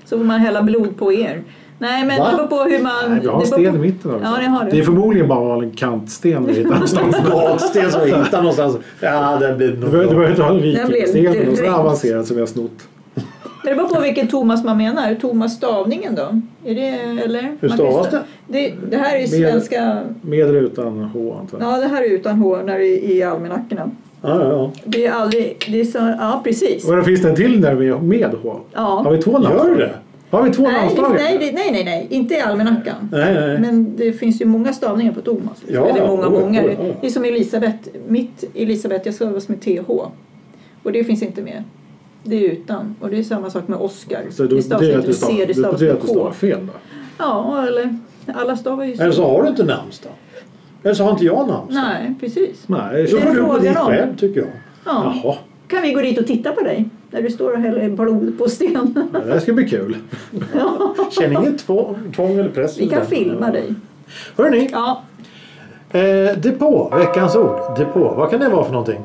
S1: Så får man hälla blod på er. Nej, men
S2: Va?
S1: det beror på hur man...
S3: nej, vi har
S1: det
S3: en
S1: beror
S3: sten
S1: på-
S3: i mitten också.
S1: Ja, det har du.
S3: det är förmodligen bara en kantsten vi
S1: (laughs)
S3: hittar någonstans.
S2: Gatsten som vi hittar någonstans. Ja, det blir
S3: Du behöver du
S2: nog
S3: behöver inte ha en
S1: Den blev
S3: vikingsten eller något sådant
S1: direkt.
S3: avancerat som vi har snott.
S1: Men det beror på vilken Thomas man menar. Thomas stavningen då? Är det, eller?
S2: Hur
S1: Man kan ju
S2: stavas
S1: sta- det? Det här är svenska...
S3: Med eller utan H antar jag.
S1: Ja, det här är utan H när det är i almanackorna.
S2: Ja, ja,
S1: Det är aldrig... Det är så, ja, precis.
S3: Och då finns det en till där med, med H.
S1: Ja.
S3: Har vi två
S2: ja.
S3: namnsdagar?
S2: Gör du det?
S3: Har vi två
S1: Nej, det,
S3: namnsdagar?
S1: nej, det, nej, nej, nej, inte i almanackan.
S2: Nej, nej.
S1: Men det finns ju många stavningar på Thomas.
S2: Ja,
S1: Eller många,
S2: oj,
S1: många.
S2: oj, oj.
S1: Det är som Elisabeth. Mitt Elisabeth, jag stavas med TH. Och det finns inte med. Det är utan. Och det är samma sak med Oscar.
S3: Så då
S1: det stavas
S3: betyder att
S1: inte med
S3: du
S1: C,
S3: stavar-
S1: det
S3: det
S1: stavas
S3: betyder
S1: med
S3: att du stavar
S1: K.
S3: fel då?
S1: Ja, eller alla stavar ju
S2: Eller
S1: så.
S2: så har du inte namnsdag. Eller så har inte jag namnsdag.
S1: Nej, precis.
S3: Nej,
S2: Då
S1: Det
S2: får
S1: är
S2: du gå
S1: frågan
S2: dit
S1: om.
S2: själv tycker jag.
S1: Ja.
S2: Jaha.
S1: Kan vi gå dit och titta på dig? När du står och häller blod på sten.
S3: det här ska bli kul.
S2: Känner inget tvång, tvång eller press.
S1: Vi kan filma dig.
S2: Hörrni,
S1: Ja,
S2: eh, depå. Veckans ord. Depå. Vad kan det vara för någonting?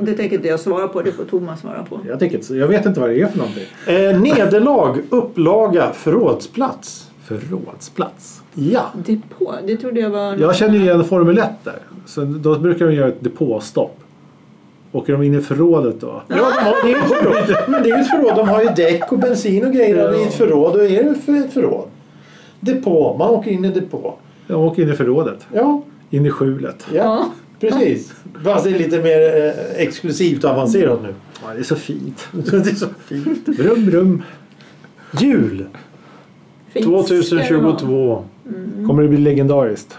S1: det tänker inte jag svara på. Det får Thomas svara på.
S3: Jag, tycker, inte- jag vet inte vad det är för någonting.
S2: Eh, nederlag, upplaga, förrådsplats.
S3: Förrådsplats.
S2: Ja.
S1: Depå, det trodde jag var...
S3: Jag känner ju igen Formel 1 där. Så då brukar de göra ett depåstopp. Åker de in i förrådet då?
S2: Ja, de har, det är ju ett förråd. Men det är ju ett förråd. De har ju däck och bensin och grejer i ett förråd. Och är det för ett förråd? Depå. Man åker in i depå.
S3: De åker in i förrådet.
S2: Ja,
S3: In i skjulet.
S2: ja.
S1: Ja.
S2: precis. Fast det är lite mer eh, exklusivt och avancerat nu.
S3: Ja, det är så fint.
S2: (laughs) Det är så fint.
S3: Rum, rum.
S2: Jul
S1: Fint ska det vara.
S2: 2022.
S3: Kommer det bli legendariskt?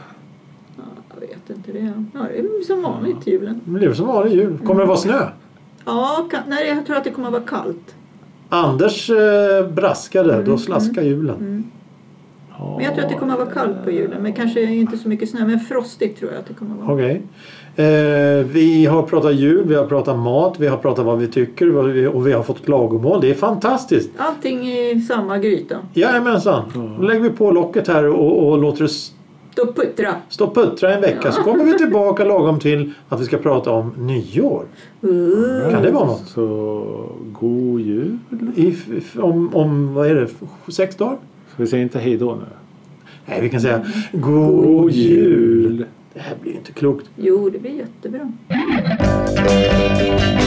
S1: Jag vet inte det. Ja, det är som vanligt till julen.
S2: Det blev som vanlig jul. Kommer det vara snö?
S1: Ja, ka- nej, jag tror att det kommer att vara kallt.
S2: Anders eh, braskade, då slaskade hjulen.
S1: Men jag tror att det kommer att vara kallt på julen. Men kanske inte så mycket snö. Men frostigt tror jag att det kommer att vara.
S2: Okej. Eh, vi har pratat jul, vi har pratat mat, vi har pratat vad vi tycker vad vi, och vi har fått klagomål. Det är fantastiskt!
S1: Allting i samma gryta.
S2: Jajamensan! Då lägger vi på locket här och, och låter det s-
S1: Då puttra!
S2: stå och puttra en vecka så kommer vi tillbaka lagom till att vi ska prata om nyår.
S1: Uh.
S2: Kan det vara något?
S3: Så god jul.
S2: I, f- om, om, vad är det, f- sex dagar?
S3: Så vi säger inte hej då nu.
S2: Nej, vi kan säga God jul! Det här blir ju inte klokt.
S1: Jo, det blir jättebra.